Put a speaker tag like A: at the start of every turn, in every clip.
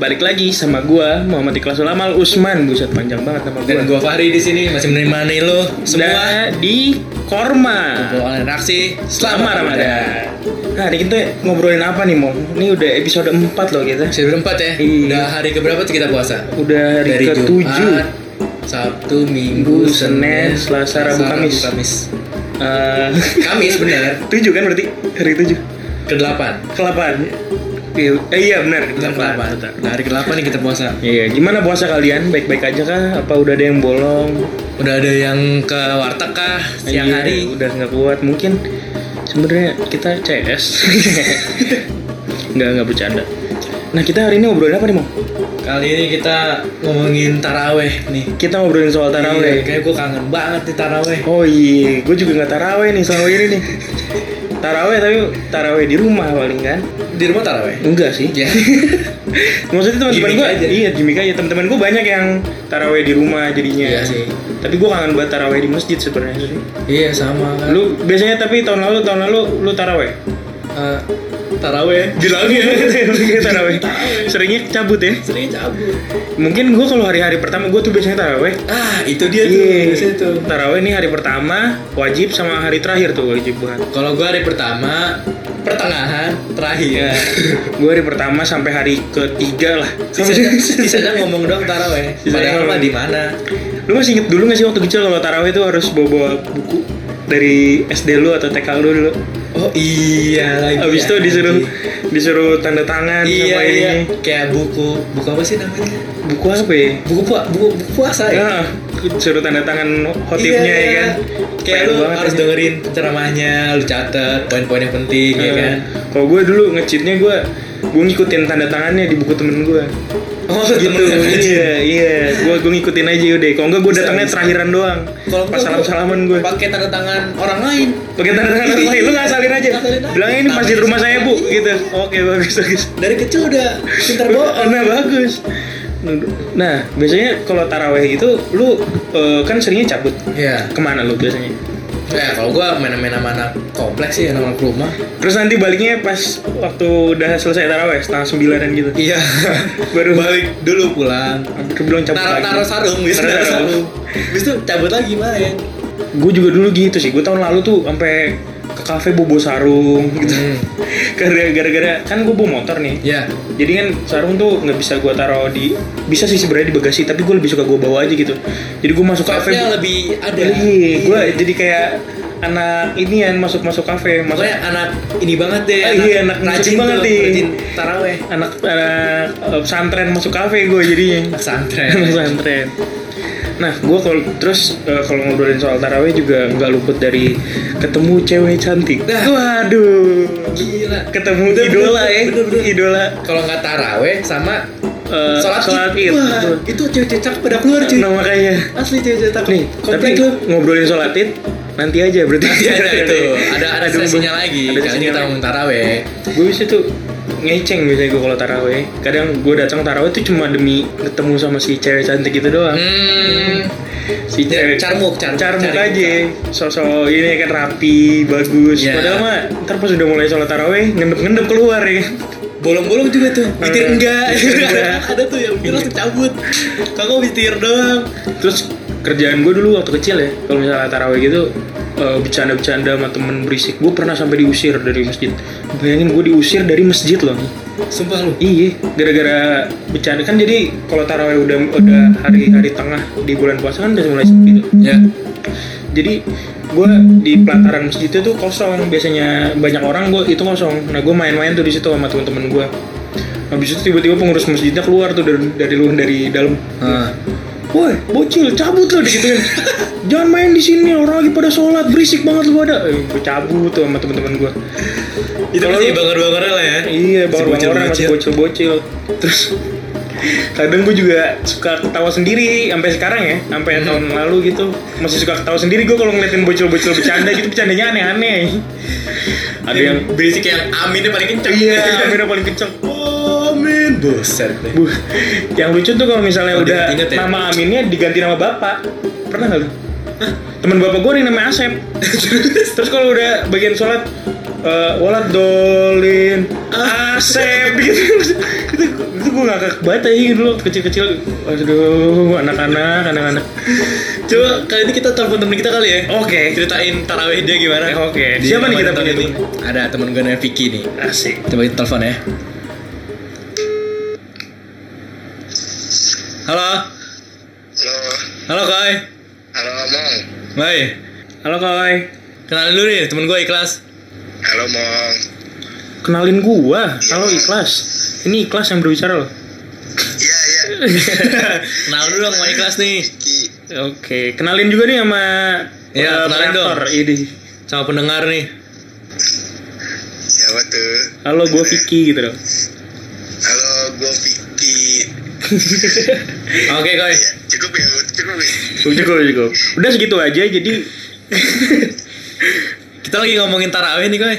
A: balik lagi sama gua Muhammad Ikhlas Ulama Al Usman buset panjang banget nama
B: Dan
A: gua
B: gua Fahri di sini masih menemani lo semua.
A: Dan di Korma
B: Kumpul online reaksi.
A: Selamat Ramadan Nah hari kita ngobrolin apa nih Mo? Ini udah episode 4 loh kita
B: Episode berempat ya.
A: Iya.
B: Udah hari keberapa tuh kita puasa?
A: Udah hari
B: Dari
A: ke
B: Jumat, Sabtu, Minggu,
A: Senin, Selasa, Rabu, Kamis.
B: Kamis.
A: 7
B: Kamis bener.
A: 7 Eh, kan berarti? Hari 7
B: Ke delapan.
A: Ke 8 Iya, eh, iya benar ke
B: Bener, ke delapan.
A: 8
B: Nah, hari ke delapan nih kita puasa.
A: Iya, gimana puasa kalian? Baik-baik aja kah? Apa udah ada yang bolong?
B: Udah ada yang ke warteg kah siang
A: Iya,
B: hari?
A: udah nggak kuat mungkin sebenarnya kita CS nggak nggak bercanda nah kita hari ini ngobrolin apa nih mau
B: Kali ini kita ngomongin taraweh nih.
A: kita ngobrolin soal
B: Iya,
A: taraweh
B: Kayak gue kangen banget nih taraweh.
A: oh iya gue juga nggak taraweh nih selama ini nih taraweh tapi taraweh di rumah paling kan
B: Di rumah taraweh.
A: enggak sih
B: Ya.
A: maksudnya teman-teman
B: Gimik
A: gue
B: aja.
A: iya gimmick aja teman-teman gue banyak yang taraweh di rumah jadinya
B: Iya sih.
A: tapi gue kangen buat taraweh di masjid sebenarnya sih.
B: Iya sama. Lu
A: lu biasanya tapi tahun lalu tahun lalu lu taraweh
B: eh, taraweh bilangnya
A: Seringnya taraweh seringnya cabut ya
B: sering cabut.
A: mungkin gue kalau hari-hari pertama gue tuh biasanya taraweh
B: Ah, itu dia tuh
A: Iya.
B: biasanya tuh.
A: taraweh ini hari pertama wajib sama hari terakhir tuh wajib buat
B: Kalau gua hari pertama, pertengahan,
A: ya
B: terakhir.
A: gue hari pertama sampai hari ketiga lah
B: Sisanya, sisanya ngomong doang taraweh.
A: Sisanya
B: Padahal mah
A: ngomong.
B: di mana?
A: lu masih inget dulu gak sih waktu kecil kalau taraweh itu harus bawa-bawa buku dari SD lu atau TK lu dulu
B: Oh iya lagi.
A: abis itu
B: ya,
A: disuruh
B: lagi.
A: disuruh tanda tangan
B: Iya
A: sama
B: iya.
A: ini
B: Kayak buku buku apa sih namanya?
A: buku apa ya
B: Buku pua, buku, buku puasa ya.
A: Nah, disuruh tanda tangan hotipnya
B: Iya,
A: ya kan
B: Kayak
A: Pengen
B: lu
A: banget
B: harus
A: ini.
B: dengerin ceramahnya, lu catet poin-poin yang penting ya
A: Eh,
B: kan.
A: Kalau gue dulu ngecitnya gue gue ngikutin tanda tangannya di buku temen gue.
B: Oh
A: Gitu. Iya, iya. Gue gue ngikutin aja udah. Kalau enggak gue
B: Bisa,
A: datangnya
B: bisa.
A: terakhiran doang.
B: Kalau
A: Pas salam salaman gue.
B: Pakai tanda tangan orang lain.
A: Pakai tanda tangan orang lain, lu ngasalin aja.
B: Ngasalin aja.
A: Bilangnya ini masjid rumah saya bu, gitu. Oke bagus bagus.
B: Dari kecil udah pintar bohong.
A: Nah bagus. Nah biasanya kalau taraweh itu lu eh, kan seringnya cabut. Nah,
B: Iya.
A: Kemana lu biasanya?
B: Ya kalau gua main-main sama anak kompleks sih, anak-anak rumah.
A: Terus nanti baliknya pas waktu udah selesai taraweh setengah sembilanan gitu.
B: Iya.
A: Baru
B: Balik dulu pulang.
A: Aku bilang cabut
B: Taruh
A: lagi.
B: taruh sarung, bisa
A: Taruh
B: taruh
A: sarung.
B: sarung. Habis itu cabut lagi main.
A: gue juga dulu gitu sih gue tahun lalu tuh sampai ke kafe bobo sarung gitu
B: Hmm.
A: Gara- gara-gara kan gue bawa motor nih
B: Ya.
A: jadi kan sarung tuh nggak bisa gue taruh di bisa sih sebenarnya di bagasi tapi gue lebih suka gue bawa aja gitu jadi gue masuk kafe
B: Vibe-nya lebih ada. Iya.
A: gue jadi kayak anak ini yang masuk masuk kafe masuk
B: Makanya anak ini banget deh.
A: Ah, iya, anak rajin banget
B: tuh,
A: nih.
B: Rajin taraweh.
A: anak anak eh, pesantren masuk kafe gue jadinya
B: Anak santren.
A: anak pesantren nah gue kalau terus eh, kalau ngobrolin soal taraweh juga nggak luput dari ketemu cewek cantik
B: Nah.
A: waduh
B: Gila.
A: ketemu
B: Bener,
A: idola
B: bener,
A: ya
B: bener, bener.
A: idola
B: Kalau nggak taraweh sama
A: eh,
B: sholat
A: sholat
B: id.
A: id
B: Wah, itu cewek-cewek cakep pada keluar cuy.
A: nah makanya
B: Asli cewek-cewek cakep.
A: nih tapi Iya,
B: komplek lu.
A: ngobrolin sholat id nanti aja berarti
B: Nanti ada itu. Ada ada sesinya lagi.
A: ada
B: Jangan
A: sesinya
B: kita
A: lagi
B: ngomong taraweh.
A: gue bisa tuh ngeceng biasanya gue kalau taraweh kadang gue datang taraweh tuh cuma demi ketemu sama si cewek cantik itu doang
B: Hmm.
A: si
B: Ya,
A: cewek
B: carmuk, carmuk,
A: carmuk
B: cari
A: Iya. aja sosok ini kan rapi bagus
B: Iya.
A: padahal mah ntar pas udah mulai sholat taraweh ngendep ngendep keluar ya
B: Bolong-bolong juga tuh. Witir
A: Hmm,
B: enggak.
A: witir enggak.
B: ada tuh yang bilang langsung cabut. Kakak witir doang.
A: Terus kerjaan gue dulu waktu kecil ya, kalau misalnya taraweh gitu eh, bercanda-bercanda sama temen berisik, gue pernah sampai diusir dari masjid. Bayangin gue diusir dari masjid loh.
B: Sumpah lu.
A: Iya, gara-gara bercanda kan jadi kalau taraweh udah udah
B: Hmm.
A: hari-hari tengah di bulan puasa kan udah mulai sepi tuh.
B: Ya.
A: Jadi gue di pelataran masjid itu tuh kosong biasanya banyak orang gue itu kosong. Nah gue main-main tuh di situ sama temen-temen gue. Habis itu tiba-tiba pengurus masjidnya keluar tuh dari dari luar dari dalam.
B: Ah.
A: Woi, bocil, cabut lo gitu kan. Jangan main di sini, orang lagi pada sholat, berisik banget lu pada. Eh, gue cabut tuh sama teman-teman gue.
B: Itu
A: Kalau
B: pasti
A: lu-
B: banger-bangernya lah ya.
A: Iya, bawa
B: bocil-bocil.
A: orang masih bocil-bocil. Terus kadang gue juga suka ketawa sendiri sampai sekarang ya, sampai tahun lalu gitu masih suka ketawa sendiri gue kalau ngeliatin bocil-bocil bercanda gitu bercandanya aneh-aneh. Ada yang
B: berisik yang aminnya paling kenceng.
A: iya, kamera paling kenceng.
B: Amin. Buset deh.
A: Bu, yang lucu tuh kalau misalnya
B: Oh,
A: udah
B: diinget-inget ya?
A: nama aminnya diganti nama bapak. Pernah nggak lu? teman bapak gue yang namanya Asep terus kalau udah bagian sholat eh, walat dolin Asep gitu itu, itu gue ngakak banget aja gitu loh kecil-kecil aduh anak-anak anak-anak
B: Coba kali ini kita telepon temen kita kali ya.
A: oke
B: Ceritain tarawih dia gimana.
A: Eh, oke.
B: Di
A: Siapa nih kita
B: Ramadan
A: punya
B: ini? Ada temen gue namanya Vicky nih.
A: asik
B: Coba kita telepon ya. Halo.
C: Halo,
B: Halo Koi.
C: halo Mong.
B: Boy.
A: halo koi
B: Kenalin dulu nih temen gue ikhlas.
C: Halo Mong.
A: kenalin gua halo ikhlas ini ikhlas yang berbicara loh
C: Iya, iya.
B: Kenal dulu dong sama ikhlas nih.
C: Ki.
A: Oke, kenalin juga nih sama
B: Iya,
A: eh,
B: kenalin dong.
A: pengantor. Ini.
B: Sama pendengar nih.
C: Siapa tuh?
A: Halo, gue Vicky gitu loh.
C: Halo, gue Vicky.
B: Oke Koi.
C: Ya, cukup ya, Bu? cukup ya.
A: Cukup, cukup. Udah segitu aja, jadi
B: Kita lagi ngomongin tarawih nih Koi.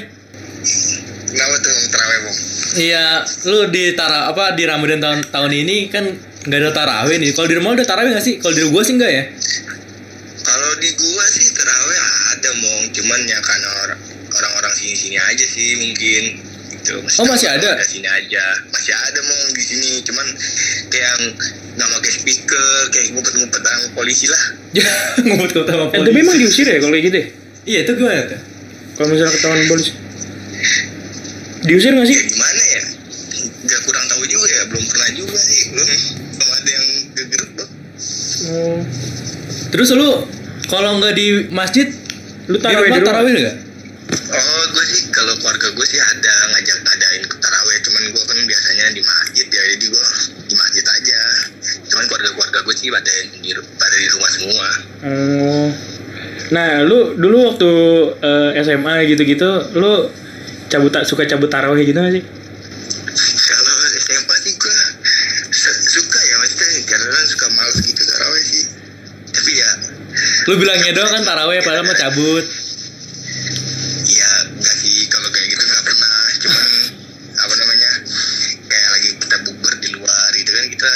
C: Kenapa tuh ngomong terawih, Mong?
B: Iya, lu di tara apa di Ramadan tahun tahun ini kan nggak ada tarawih nih. Kalau di rumah lu udah tarawih nggak sih? Kalau di gua sih nggak ya.
C: Kalau di gua sih terawih ada, Mong. Cuman ya kan or- orang-orang sini-sini aja sih mungkin. Gitu.
B: Oh, masih ada?
C: Di sini aja. Masih ada, Mong, di sini. Cuman kayak nggak pakai speaker, kayak ngumpet-ngumpet sama polisi lah.
B: Ya, ngomong ke sama
A: eh, tapi
B: polisi.
A: emang diusir ya kalau kayak gitu ya?
B: Iya, itu gimana tuh?
A: Kalau misalnya ketahuan polisi. Diusir nggak sih?
C: ya gimana ya nggak kurang tahu juga ya belum pernah juga sih belum belum ada yang kegerut tuh
A: Oh,
B: Terus lu kalau nggak di masjid,
A: Lu tarawih
B: di
A: di
B: rumah
A: rumah?
B: tarawih nggak?
C: oh gue sih kalau keluarga gue sih ada ngajak adain ke taraweh cuman gue kan biasanya di masjid ya jadi gue di masjid aja cuman keluarga keluarga gue sih pada yang di pada di rumah semua
A: oh. Nah, lu dulu waktu eh, SMA gitu-gitu, lu cabut ta- suka cabut tarawih gitu nggak sih?
C: kalau SMA sih gue se- suka ya maksudnya karena suka males gitu taraweh sih tapi ya
B: Lu bilangnya doang kan tarawih padahal mau cabut.
C: Iya, enggak sih kalau kayak gitu nggak pernah. Cuman apa namanya? Kayak lagi kita bukber di luar gitu kan kita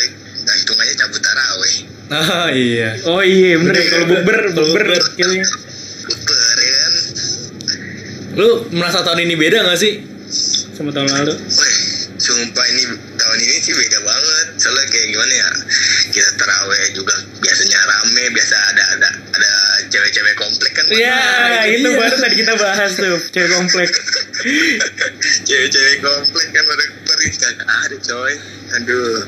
C: nah, hitungannya cabut taraweh.
B: Ah, iya.
A: Oh iya, bener ya. Kalau bukber,
B: Kalau
A: bukber
B: bukber.
A: gitu ya.
C: Bukber ya kan.
B: Lu merasa tahun ini beda nggak sih?
A: Sama tahun lalu.
C: Weh, sumpah ini tahun ini sih beda banget. Soalnya kayak gimana ya? Kita taraweh juga biasanya rame, biasa ada ada ada cewek-cewek komplek kan.
A: Ya,
B: itu
A: itu
B: dia.
A: baru tadi kita bahas tuh, cewek komplek.
C: Cewek-cewek komplek kan pada peris kan. Ada coy. Aduh.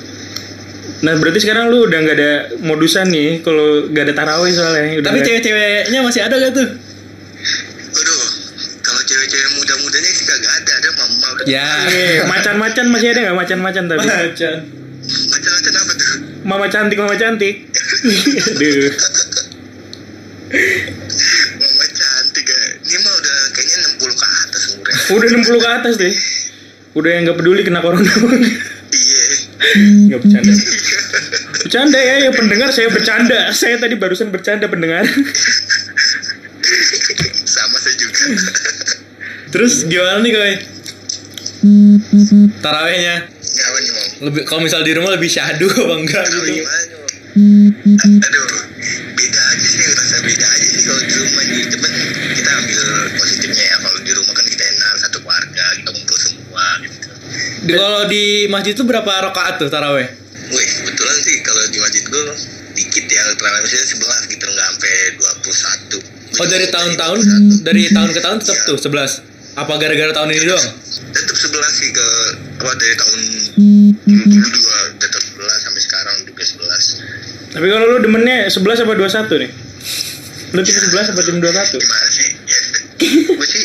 A: Nah berarti sekarang lu udah nggak ada modusan nih kalau nggak ada tarawih soalnya. Udah
B: Tapi
A: nggak-
B: cewek-ceweknya masih ada gak tuh?
C: Aduh. Kalau cewek-cewek muda-mudanya sih kagak ada, ada mama udah
B: Ya.
A: Eh, macan-macan masih ada nggak macan-macan tapi?
B: Macan.
C: Macam-macam apa tuh?
A: Mama cantik, mama cantik. Duh.
C: Mama cantik ya. Ini mah udah kayaknya 60 ke atas umurnya.
A: Udah 60 ke atas deh. Udah yang nggak peduli kena corona.
C: Iya.
A: Nggak bercanda. Bercanda ya, ya pendengar saya bercanda. Saya tadi barusan bercanda pendengar.
C: Sama saya juga.
B: Terus gimana nih Koi? Tarawehnya
C: Nyawa nih mau.
B: lebih kalau misal di rumah lebih syahdu apa enggak
C: Tahu
B: gitu?
C: gimana nih mau. Aduh, beda aja sih, rasa beda aja sih kalau di rumah nih. Cuman kita ambil positifnya ya, kalau di rumah kan kita enak, satu keluarga, kita kumpul semua gitu.
B: Di- Kalau di masjid tuh berapa rakaat tuh taraweh?
C: Wih, kebetulan sih kalau di masjid gue dikit ya, yang terawih misalnya 11 gitu, nggak sampai 21.
B: Oh dari tahun-tahun
C: 21.
B: dari tahun ke tahun tetap tuh 11. Apa gara-gara tahun ini doang?
C: tetap 11 sih ke apa dari tahun dulu dua tetap 11 sampai sekarang juga 11
A: Tapi kalau lu demennya 11 apa 21 nih? Lu tim 11 apa tim 21?
C: gimana sih ya gue sih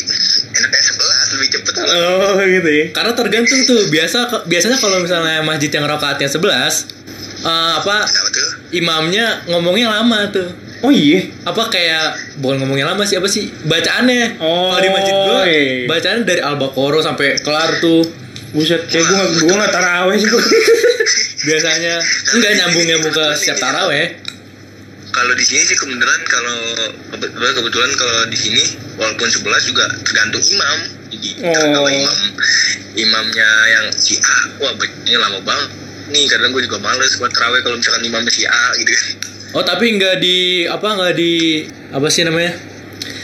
C: enaknya 11 lebih cepet lah
A: Oh gitu ya.
B: Karena tergantung tuh biasa biasanya kalau misalnya masjid yang rakaatnya 11 eh, apa
C: kenapa tuh
B: imamnya ngomongnya lama tuh
A: Oh iya.
B: apa kayak bukan ngomongnya lama sih apa sih bacaannya
A: Oh,
B: kalau di masjid gua
A: iya.
B: bacaannya dari al-baqarah sampai kelar tuh
A: Buset, kayak gue gak, gue gak taraweh sih gue.
B: biasanya enggak nyambung nyambung ke setiap taraweh
C: kalau di sini sih kebetulan kalau kebetulan, kebetulan kalau di sini walaupun 11 juga tergantung imam jadi
A: Oh.
C: kalau imam imamnya yang si A wah ini lama banget nih kadang gue juga males buat terawih kalau misalkan imamnya si A gitu kan
B: Oh tapi nggak di apa nggak di apa sih namanya?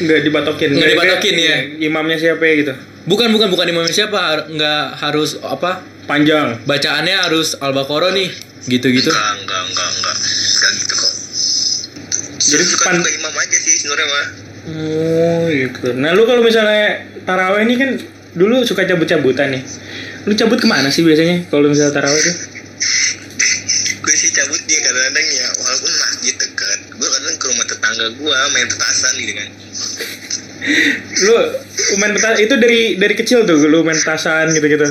A: nggak dibatokin iya.
B: Nggak
A: Kayak-
B: dibatokin, ya.
A: imamnya siapa ya gitu
B: Bukan bukan bukan imamnya siapa har- nggak harus apa
A: panjang
B: bacaannya harus al-baqarah nih gitu-gitu.
C: enggak enggak enggak enggak enggak gitu kok
A: Jadi
C: jadi suka
A: pan-
C: suka imam aja sih sebenarnya mah
A: oh gitu nah lu kalau misalnya taraweh ini kan dulu suka cabut-cabutan nih lu cabut kemana sih biasanya kalau misalnya taraweh tuh
C: gue sih cabut dia kadang-kadang ya walaupun masjid dekat gue kadang ke rumah tetangga gue main petasan gitu kan
A: lu main petasan itu dari dari kecil tuh lu main petasan gitu-gitu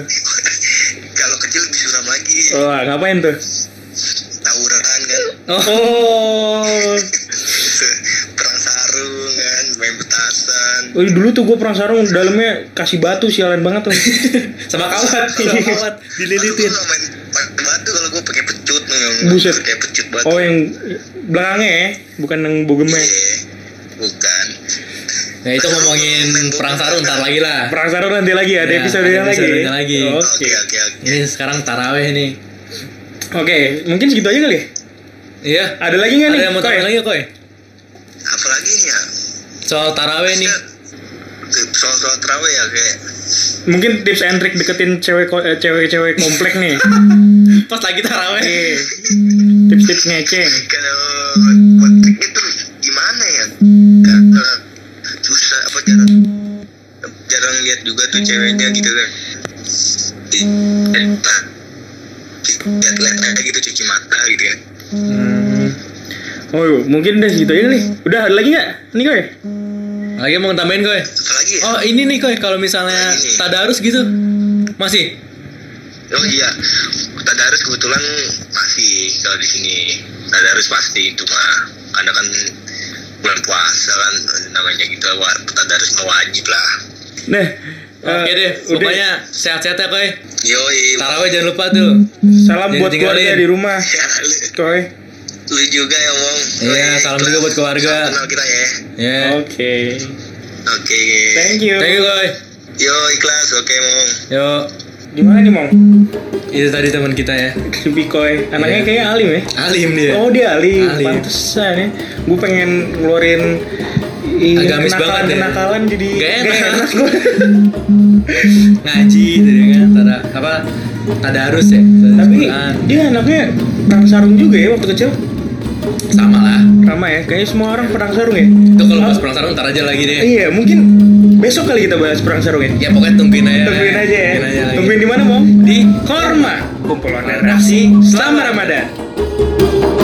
C: kalau kecil lebih suram lagi
A: wah ngapain tuh
C: tawuran kan
A: oh
C: perang sarung kan main petasan
A: Oh, dulu tuh gue perang sarung dalamnya kasih batu sialan banget tuh.
B: Sama kawat, sama kawat
C: Kalau gue
B: dililitin.
C: nggak main pakai batu kalau gue pakai pecut memang
A: Buset.
C: pakai pecut batu
A: Oh yang belakangnya ya, bukan yang bogemnya.
C: Iya. bukan
B: Nah itu ngomongin perang sarung ntar lagi lah.
A: Perang sarung nanti lagi ada
B: Ya,
A: episode
B: ada
A: yang lagi.
B: episodenya lagi.
A: Oke.
C: oke oke oke
B: Ini sekarang taraweh nih.
A: Oke, mungkin segitu aja kali. ya?
B: Iya.
A: Ada lagi nggak
B: Ada
A: nih? ya?
B: yang mau
A: Koy?
B: tanya lagi koi?
C: apalagi nih ya
B: Soal taraweh nih.
C: soal soal terawih ya kayak
A: Mungkin tips and trick deketin cewek ko- eh, cewek-cewek komplek nih.
B: Pas lagi taraweh.
A: Oke. Tips-tips ngeceng.
C: kalau konflik itu gimana ya Karena susah apa jarang jarang lihat juga tuh ceweknya gitu kan Di- di- di- lihat lihat aja gitu cuci mata gitu kan
A: Hmm. Oh, iya, mungkin udah segitu aja kali. Udah ada lagi nggak? Nih ya? koy.
B: Lagi mau tambahin koi?
C: apalagi ya
B: Oh ini nih koi kalau misalnya
C: Ini.
B: tadarus gitu masih
C: oh iya tadarus kebetulan masih kalau di sini tadarus pasti itu mah karena kan bulan puasa kan namanya gitu wa- tadarus mah wajib lah
A: Nah. eh,
B: Oke deh,
A: udah.
B: pokoknya sehat-sehat ya koi.
C: yoi
B: Taraweh jangan lupa tuh.
A: Salam
B: Jangan
A: buat keluarga
B: tinggalin.
A: di rumah.
C: Ya, lu-
A: Koy.
C: lu juga ya Wong
B: Iya, salam juga buat keluarga.
C: Salam kenal kita ya
B: Ya.
A: Oke.
C: oke
A: Thank you.
B: Thank you koi.
C: yo ikhlas oke Wong
B: Yo,
A: Gimana nih, Mong?
B: itu tadi teman kita ya.
A: Creepy Koy. Anaknya
B: Iya.
A: kayaknya alim ya.
B: Alim dia.
A: Oh, dia alim.
B: Alim.
A: Pantesan ya. Gue pengen ngeluarin ini
B: Agamis banget ya.
A: kenakalan jadi
B: Gak enak.
A: gak gua.
B: Ngaji tadi kan tada apa tadarus ya. tadarus
A: Tapi
B: Quran.
A: dia anaknya perang sarung juga ya waktu kecil.
B: sama lah.
A: Sama ya. Kayaknya semua orang perang sarung ya.
B: Itu kalau pas
A: Ah,
B: perang sarung ntar aja lagi deh.
A: Iya, mungkin besok kali kita bahas perang sarung ya.
B: Ya pokoknya tungguin aja.
A: Tungguin aja ya.
B: Tungguin aja lagi.
A: Tungguin di mana, Mong?
B: di
A: Korma kumpulan
B: Korma.
A: narasi selama Ramadan.